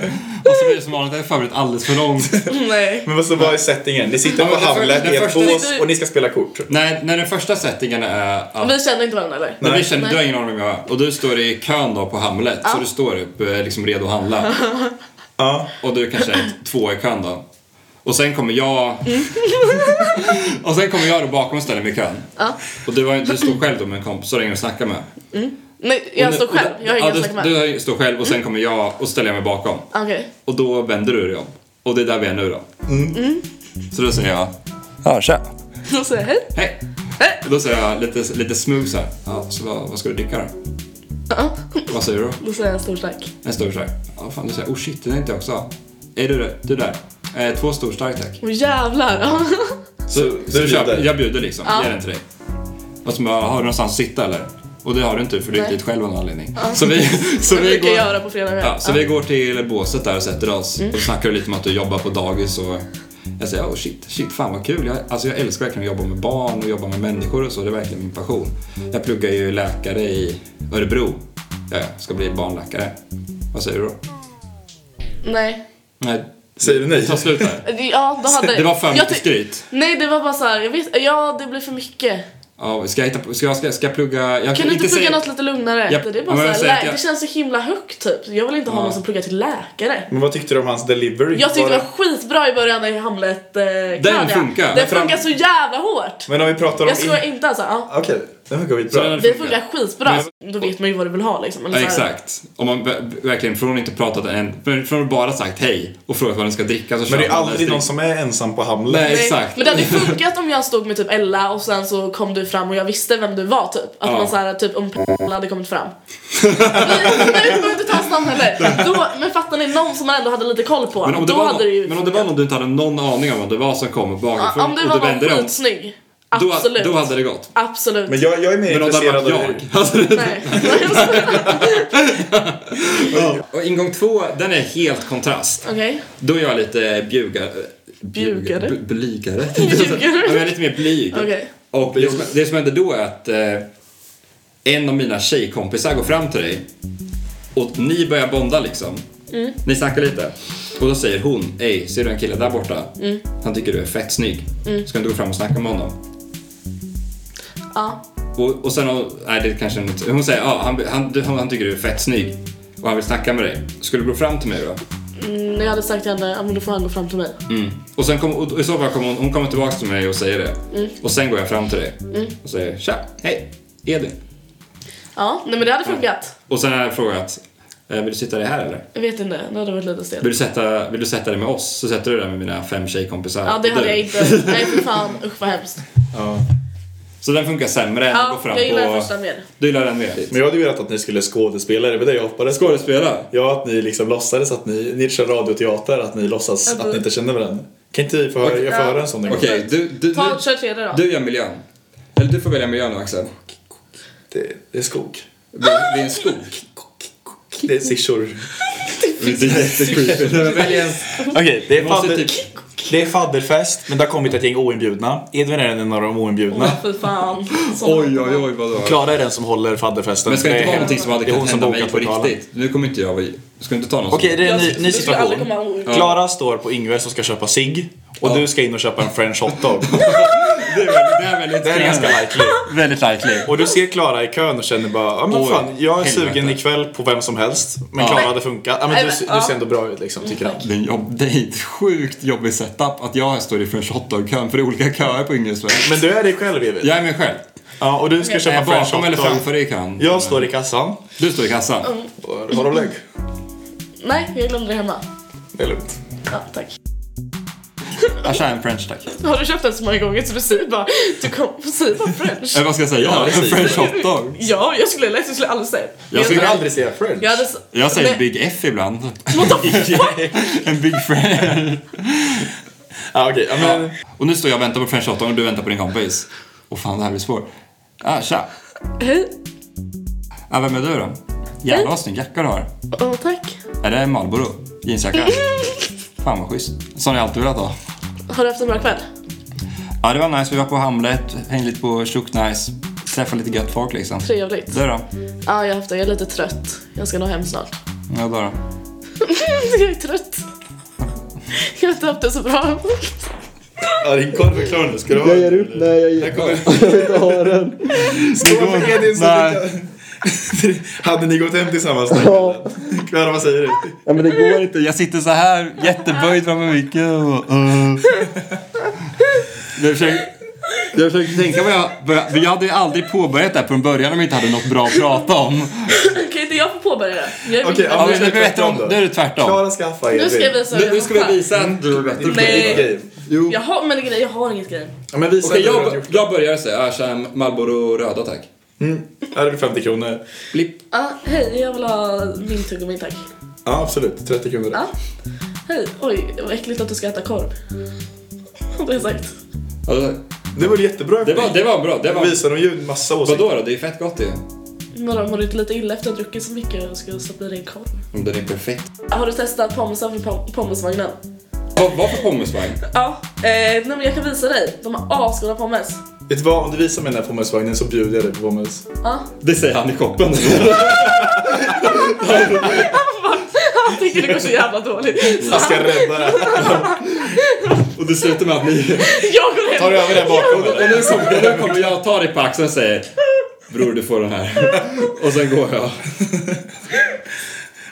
Och så blir det som vanligt, jag har förberett alldeles för långt. Nej. Men vad så vad är settingen? Ni sitter Ja, på men den för- Hamlet den i en första- bås och ni ska spela kort. När, när den första settingen är att... Vi känner inte varandra eller? När vi Nej. känner, du har ingen aning om jag Och du står i kön då på Hamlet. Så du står upp eh, liksom redo att handla. Ja. Och du kanske är två i kön då. Och sen kommer jag... Mm. och sen kommer jag då bakom och ställer mig i kön. Ja. Och du, har, du står själv då med en kompis och ringer och snackar med. Nej, jag Och står nu- och själv. Jag har ja, ingen du- snack med. Mm. Du har- står själv och sen kommer jag och ställer jag mig bakom. Okej. Och då vänder du dig om. Och det är där vi är nu då. Mm. Så då säger jag... Ja, tja. Då säger jag hej. Hej. Och då säger jag lite, lite smooth så här. Ja, så vad, vad ska du dricka då? Ja. Vad säger du då? Då säger jag en stor tack. En stor stark. Ja, fan du säger jag. Oh shit, det tänkte jag också ha. Är du, det? du där? Eh, två stor stark tack. Åh jävlar. Så, så du köp, bjuder? jag bjuder liksom. Ger den till dig. Och så bara, har du någonstans att sitta eller? Och det har du inte för du gick Nej. dit själv av någon anledning. Så vi, så Det vi brukar går... jag göra på fredagar. Ja, så vi går till båset där och sätter oss. Och snackar lite om att du jobbar på dagis och jag säger oh shit, shit fan vad kul. Jag, alltså jag älskar verkligen att jobba med barn och jobba med människor och så. Det är verkligen min passion. Jag pluggar ju läkare i Örebro. Ja, jag ska bli barnläkare. Vad säger du då? Nej. Nej, Säger du nej? ta slut där. Ja, då hade... Det var för Jag mycket ty- skryt. Nej, det var bara så här, jag vet, ja det blir för mycket. Ja, ska, jag hitta, på- ska, jag, ska, jag- ska jag plugga? Jag Kan du inte plugga säga- något lite lugnare? Ja, Det är men bara jag så säger här, att lä- jag- det känns så himla högt typ. Jag vill inte ha Ja. någon som pluggar till läkare. Men vad tyckte du om hans delivery? Jag tyckte Var det det- var skitbra i början i Hamlet eh, Claudia. funkar. Den Fram- funkar så jävla hårt. Men om vi pratar om... Jag skojar in- inte alltså. Ja. Okej, den funkar Så skitbra. den- Det funkar skitbra. Men- Då vet man ju vad du vill ha liksom. Eller Ja, så här- exakt. Om man ver- verkligen, från att inte pratat än, men från att bara sagt hej och frågat vad den ska dricka så Men det är man den aldrig strikt. någon som är ensam på Hamlet. Nej. Nej, Exakt. Men det hade ju funkat om jag stod med typ Ella och sen så kom du du fram och jag visste vem du var typ. Att Ja. man såhär typ om p- hade kommit fram. nej, nej, vi behöver inte ta hans namn heller. Då, men fattar ni, någon som man ändå hade lite koll på. Men om, det då var, hade någon, det ju men om det var någon du inte hade någon aning om vad det var som kom Ja, bakifrån Om det och var du någon vände dig om, skitsnygg. då, Absolut. då hade det gått. Absolut. Men jag, jag är mer Men om det hade intresserad av varit hur... jag. Alltså, det- Nej. och ingång två, den är helt kontrast. Okej. Då är jag lite bjugare. Bjugare? bl- Blygare. Bjugare. Ja, men jag är lite mer blyg. Okej. Och det som, det som hände då är att eh, en av mina tjejkompisar går fram till dig och ni börjar bonda liksom. Mm. Ni snackar lite. Och då säger hon, ey ser du en kille där borta? Mm. Han tycker du är fett snygg. Ska du gå fram och snacka med honom? Ja. Och, och sen, har- nej det är kanske är något, hon säger, ja han, han, du- han, han tycker du är fett snygg och han vill snacka med dig. Skulle du gå fram till mig då? Mm, jag hade sagt till henne, ja men då får han gå fram till mig. Mm. Och sen kom, och i så fall kommer hon, hon kommer tillbaka till mig och säger det. Mm. Och sen går jag fram till dig och säger, tja, hej, Edvin. Ja, nej men det hade funkat. Och sen har jag frågat, eh, vill du sitta dig här eller? Jag vet inte, det hade varit lite stelt. Vill du, sätta, vill du sätta dig med oss så sätter du dig där med mina fem tjejkompisar. Ja det Och hade du. jag inte. Nej för fan, usch vad hemskt. Ja. Så den funkar sämre än att Ja, gå fram jag gillar på... den första mer. Du gillar den mer? Men jag hade ju velat att ni skulle skådespela, det var det jag hoppades på. Skådespela? Ja, att ni liksom låtsades att ni, ni kör radioteater, att ni låtsas Ja, då- att ni inte känner varandra. Kan inte vi få höra, jag får Ja. höra en sån en gång? Okej, du, du, Mm. Ta, du, kör tredje då. du gör miljön. Eller du får välja miljön nu Axel. Det, det är skog. Det det är en skog. Det är sirsor. Det är jättecreepy. Välj en... Okej, det, är måste typ- fadder- det är fadderfest, men det har kommit ett gäng oinbjudna. Edvin är en av de oinbjudna. Fy fan. Så- Oj, oj, oj vad du har. Klara är den som håller fadderfesten. Men ska det inte vara någonting som hade Det är hon kunnat hända mig bokat på lokalen. riktigt? Nu kommer inte jag vara i... Ska inte ta någon Okej, det är en ny, ny Du skulle aldrig situation. komma ihåg. Klara står på Ingves som ska köpa sig och du ska in och köpa en french hotdog. det är väldigt... Det är väldigt, Det är ganska likely. väldigt likely. Och du ser Klara i kön och känner bara, ja men Oj, fan, jag är helvete. sugen ikväll på vem som helst. Men Ja. Klara hade funkat. Ja, men Nej, du, men, ser- ja. du ser ändå bra ut liksom, tycker han. Det är, en jobb, det är ett sjukt jobbig setup att jag här står i French hotdog-kön för det är olika köer på Yngresvägen. Men du är dig själv Evil. Eh, Jag är mig själv. Ja, och du ska Jag är köpa french bakom eller framför hotdog. dig i kön. Jag står i kassan. Du står i kassan. Mm. Och- Mm. Har du lägg? Nej, jag glömde det hemma. Det är lugnt. Ja, tack. Jag kör en French tack. Har du köpt den så många gånger så du säger bara, du kom, säger bara french. Eller Eh, vad ska jag säga? Ja, en precis. French hotdog. Ja, jag skulle lätt, jag skulle aldrig säga det. Jag skulle aldrig- säga french. Jag hade... s- Jag säger Nej, Big F ibland. what the fuck? en Big French. Ja, Ah, okej. Ja, men, Och nu står jag och väntar på French hotdog och du väntar på din kompis. Åh fan, det här blir svårt. Ah, tja. Hej. Ah, vem är du då? Jävlar vad snygg jacka du har. Åh, tack. Är det Marlboro? Mm. Jeansjacka? Fan vad schysst. Sån jag alltid velat ha. Har du haft en bra kväll? Ja, det var nice. Vi var på Hamlet, hängde lite på Tjock Nice, träffade lite gött folk liksom. Trevligt. Du då? Ja, jag har haft det. Jag är lite trött. Jag ska nog hem snart. Ja, då, då. jag är trött. Jag har inte haft det så bra. ja, din korv är klar nu. Ska du ha den? ut, nej jag ger Jag vill inte ha den. Skål för Edvin som Nej. fick- Hade ni gått hem tillsammans den Ja. kvällen? Klara, vad säger du? Ja, men det går inte. Jag sitter så här jätteböjd framför micken och... Uh. Jag försöker... Jag försöker tänka vad jag... vad jag- Men jag hade ju aldrig påbörjat det här från början om vi inte hade något bra att prata om. kan inte jag få påbörja det? Jag är Okej, Ja, ja, nu men är nu, det berätta om, tvärtom nu då. är det tvärtom. Klara skaffa Edvin. Nu ska jag visa hur Nu, nu jag ska vi fattar. visa att du är bättre. Nej. Okej. Jo. Jag har, men grej, jag har inget grej. Ja, men visa Okej, hur du har jag, gjort. Mm. jag börjar säga. Jag kör Marlboro röda tack. Här är det 50 kronor. Blipp. Ah, hej, jag vill ha min tuggummi tack. Ja, absolut. 30 kronor. Ja. Hej, oj, vad äckligt att du ska äta korv. Har du sagt. Alltså, Det var jättebra. det, var, det var bra. Det var... Visar de ju en massa åsikter. Vadå då? Det är ju fett gott ju. Vadå, mår du inte lite illa efter att ha druckit så mycket och ska stoppa i dig en korv? Den är perfekt. Har du testat pommesen för pom- pommesvagnen? Vad vad för pommesvagn? Ja, eh, nej men jag kan visa dig. De har asgoda pommes. Vet du vad? Om du visar mig den här pommesvagnen så bjuder jag dig på pommes. Ja. Det säger han i koppen. Han tycker det går så jävla dåligt. Så Jag ska rädda det här. Och det slutar med att ni... jag går Tar hem. du över den bakom eller? Och nu kommer, nu kommer jag och tar dig på axeln och säger Bror du får den här. Och sen går jag.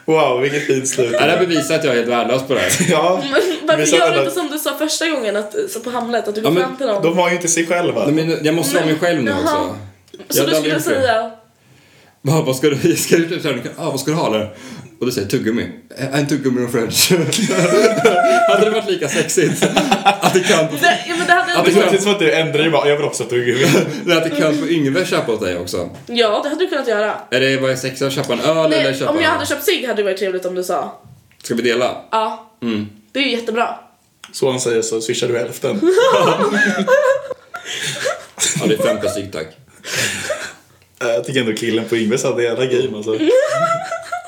Wow, vilket fint slut. Är det här bevisar att jag är helt värdelös på det här. Ja, Varför Men så- gör du inte som du sa första gången att, så på Hamlet? Att du går Ja, men fram till dem? de var ju inte sig själva. Nej, men jag måste vara mig själv nu också. Så jag du hade aldrig skulle gjort det. säga... Vad vad ska du, ska du, typ så här, ah, vad ska du ha där? Och du säger tuggummi. "Eh, En tuggummi och french. Hade det varit lika sexigt att det kan på, Det, ja, men det hade Ja, Det inte... precis. känns som att du ändrar ju bara, jag vill också att du att det kan på Yngve köpa åt dig också? ja, det hade du kunnat göra. Är det vad är sexigt att köpa en öl eller Nej, köpa om jag hade köpt cigg hade det varit trevligt om du sa. Ska vi dela? Ja, Mm. det är ju jättebra. Så han säger så swishar du hälften. Ja, det är 50 styck tack. Eh, Jag tycker ändå killen på Yngves hade jävla game alltså.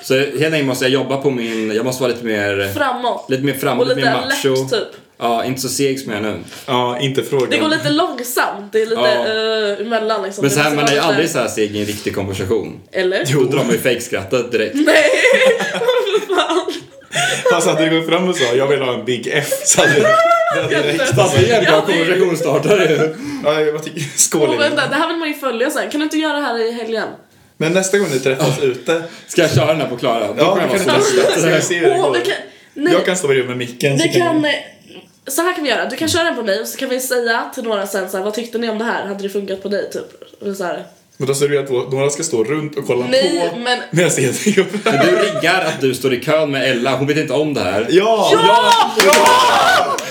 Så helt enkelt måste jag jobba på min, jag måste vara lite mer, Framåt. lite mer framåt, Och lite, mer lite macho. lätt typ. Ja, inte så seg som jag är nu. Ja, inte frågan. Det går lite långsamt, det är lite Ja. eh, emellan liksom. Men Det så här, måste man är ju vara lite- aldrig så här seg i en riktig konversation. Eller? Då drar man ju fejkskrattet direkt. Nej! För fan. Fast hade du gått fram och sa jag vill ha en Big F så hade du... det hade direkt- Fast det är en bra konversationsstartare ju. Ja, jag tycker- Skål Och Yngve. vänta, det här vill man ju följa sen. Kan du inte göra det här i helgen? Men nästa gång ni träffas ute. Ska jag köra den här på Klara? Då Ja, kommer jag vi vara kan så ledsen. testa. Ska vi se hur det Åh, vi går. kan... Nej, Jag kan stå bredvid med micken. så vi kan kan... ni- eh, Så här kan vi göra, du kan köra den på mig och så kan vi säga till några sen så här, vad tyckte ni om det här? Hade det funkat på dig typ? Eller så här. Men då ser du att några ska stå runt och kolla Nej, på. men... Medan Edvin går fram. Men du riggar att du står i kön med Ella, hon vet inte om det här. Ja! Ja!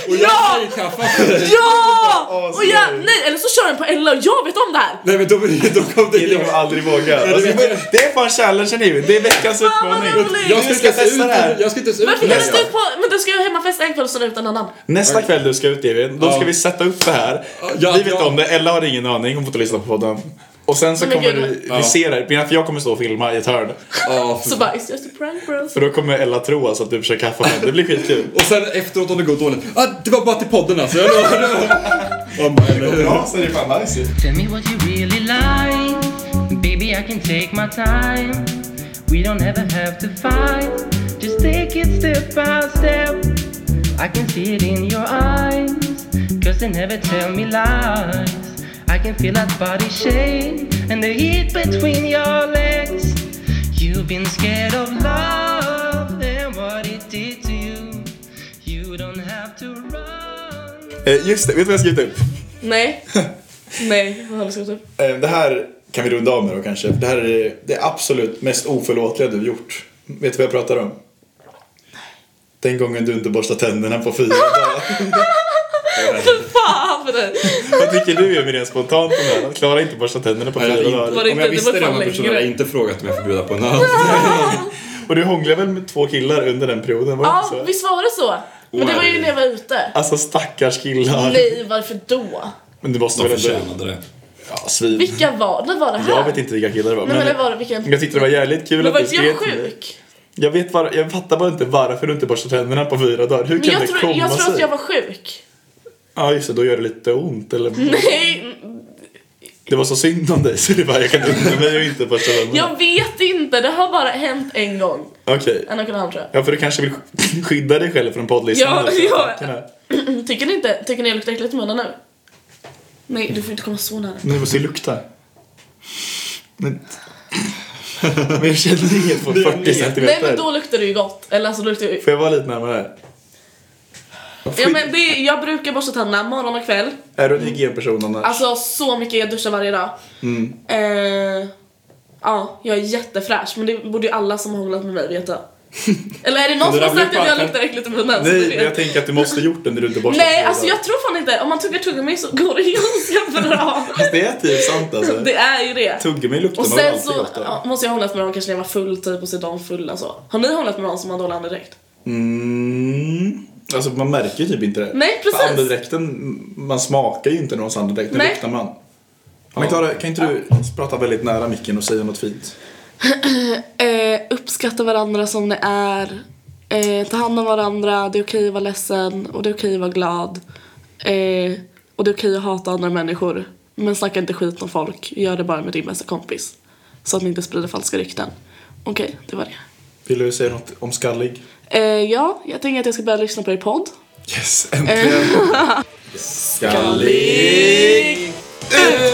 Och jag Ja! säger kaffe för dig. Ja! Åh, Och jag, sorry. nej, eller så kör den på Ella och jag vet om det här! Nej men då, då kom det Det kommer jag. aldrig våga. det Alltså, vet jag. det är fan challengen Edvin. Det är veckans Fan, vad utmaning. roligt! Jag Vi ska ska inte ens testa ut, det här. jag ska inte ens ut Varför kan med du Ella. stå på... Men du ska ju hemmafesta en kväll och så ut en annan. Nästa kväll du ska ut Edvin, då ska vi sätta upp det här. Ja, vi vet ja. om det, Ella har ingen aning, hon får inte lyssna på podden. Och sen så Men kommer gud, vi, men- vi ser det här, Men för jag kommer stå och filma i ett hörn. Ja, för- Så bara, it's just a prank bros. För då kommer Ella tro alltså att du försöker haffa med Det blir skitkul. Och sen efteråt om det går dåligt. Ah, det var bara till podden alltså. Jag lovar. Om- eller hur? Ja, så är det fan nice ju. Tell me what you really like. Baby, I can take my time. We don't ever have to fight. Just take it step by step. I can see it in your eyes. Cause they never tell me lies. I can feel that body shake and the heat between your legs. You've been scared of love and what it did to you. You don't have to run. Eh, Just det, vet du vad jag skrivit upp? Nej. Nej, vad har du skrivit upp? Eh, Det här kan vi runda av med då kanske. för Det här är det absolut mest oförlåtliga du gjort. Vet du vad jag pratar om? Den gången du inte borstar tänderna på fyra dagar. Fan för dig! Vad tycker du Emil rent spontant om det här? Att Klara inte borstar tänderna på Nej, fyra jag dagar. hade det inte- Om jag inte- det visste var det om fan en person hade jag inte frågat om jag får bjuda på en öl. Och du hånglade väl med två killar under den perioden? Var det Ja, inte så? visst var det så? Men det var ju när jag var ute. Alltså stackars killar. Nej, varför då? Men du måste De väl ändå... förtjänade det. Ja, svin. Vilka var När var det här? Jag vet inte vilka killar det var. Nej, men det var vilken... Jag tyckte det var jävligt kul Men var att du inte jag skrev till mig. sjuk? Jag, vet var... jag fattar bara inte varför du inte borstar tänderna på fyra dagar. Hur Men kan jag det tror, komma jag sig? tror att jag var sjuk. Ja just det, då gör det lite ont eller? Nej, Det var så synd om dig så det bara, jag kan inte mig och inte första vännerna. jag vet inte. Det har bara hänt en gång. Okej. En och en halv tror jag. Ja för du kanske vill sk- skydda dig själv från poddlistan. Ja, nu, så ja. tanken är- Tycker ni inte? Tycker ni jag luktar äckligt i munnen nu? Nej, du får inte komma så nära. Nu måste jag lukta. Men, men jag känner inget på Det är 40 ner. centimeter. Nej men då luktar det ju gott. Eller alltså då luktar det ju... Får jag vara lite närmare? Ja, men det, är- jag brukar borsta tänderna morgon och kväll. Är du en hygienperson annars? Alltså så mycket, jag duschar varje dag. Eh, ja, jag är jättefräsch men det borde ju alla som har hånglat med mig veta. Eller är det någon det som har där sagt blir att jag fan- luktar äckligt i munnen? så Nej, alltså, det- men jag tänker att du måste gjort det när du inte borstat Nej tänderna. alltså jag tror fan inte, om man tuggar tuggummi så går det ganska bra. Fast det är typ sant alltså. det är ju det. Tuggummi luktar Och man sen alltid så gott av. ja, måste jag ha hånglat med någon kanske när jag var full typ och så är de fulla så. Har ni hånglat med någon som har dålig andedräkt? Mm. Alltså man märker ju typ inte det. Nej, precis. För andedräkten, man smakar ju inte någons andedräkt, den Nej. luktar man. Men Klara, kan inte du prata väldigt nära micken och säga något fint? Eh, uppskatta varandra som ni är. Eh, ta hand om varandra. Det är okej att vara ledsen och det är okej att vara glad. Eh, och det är okej att hata andra människor. Men snacka inte skit om folk. Gör det bara med din bästa kompis. Så att ni inte sprider falska rykten. Okej, det var det. Vill du säga något om skallig? Eh, ja, jag tänker att jag ska börja lyssna på er podd. Yes, äntligen! skallig! Ut!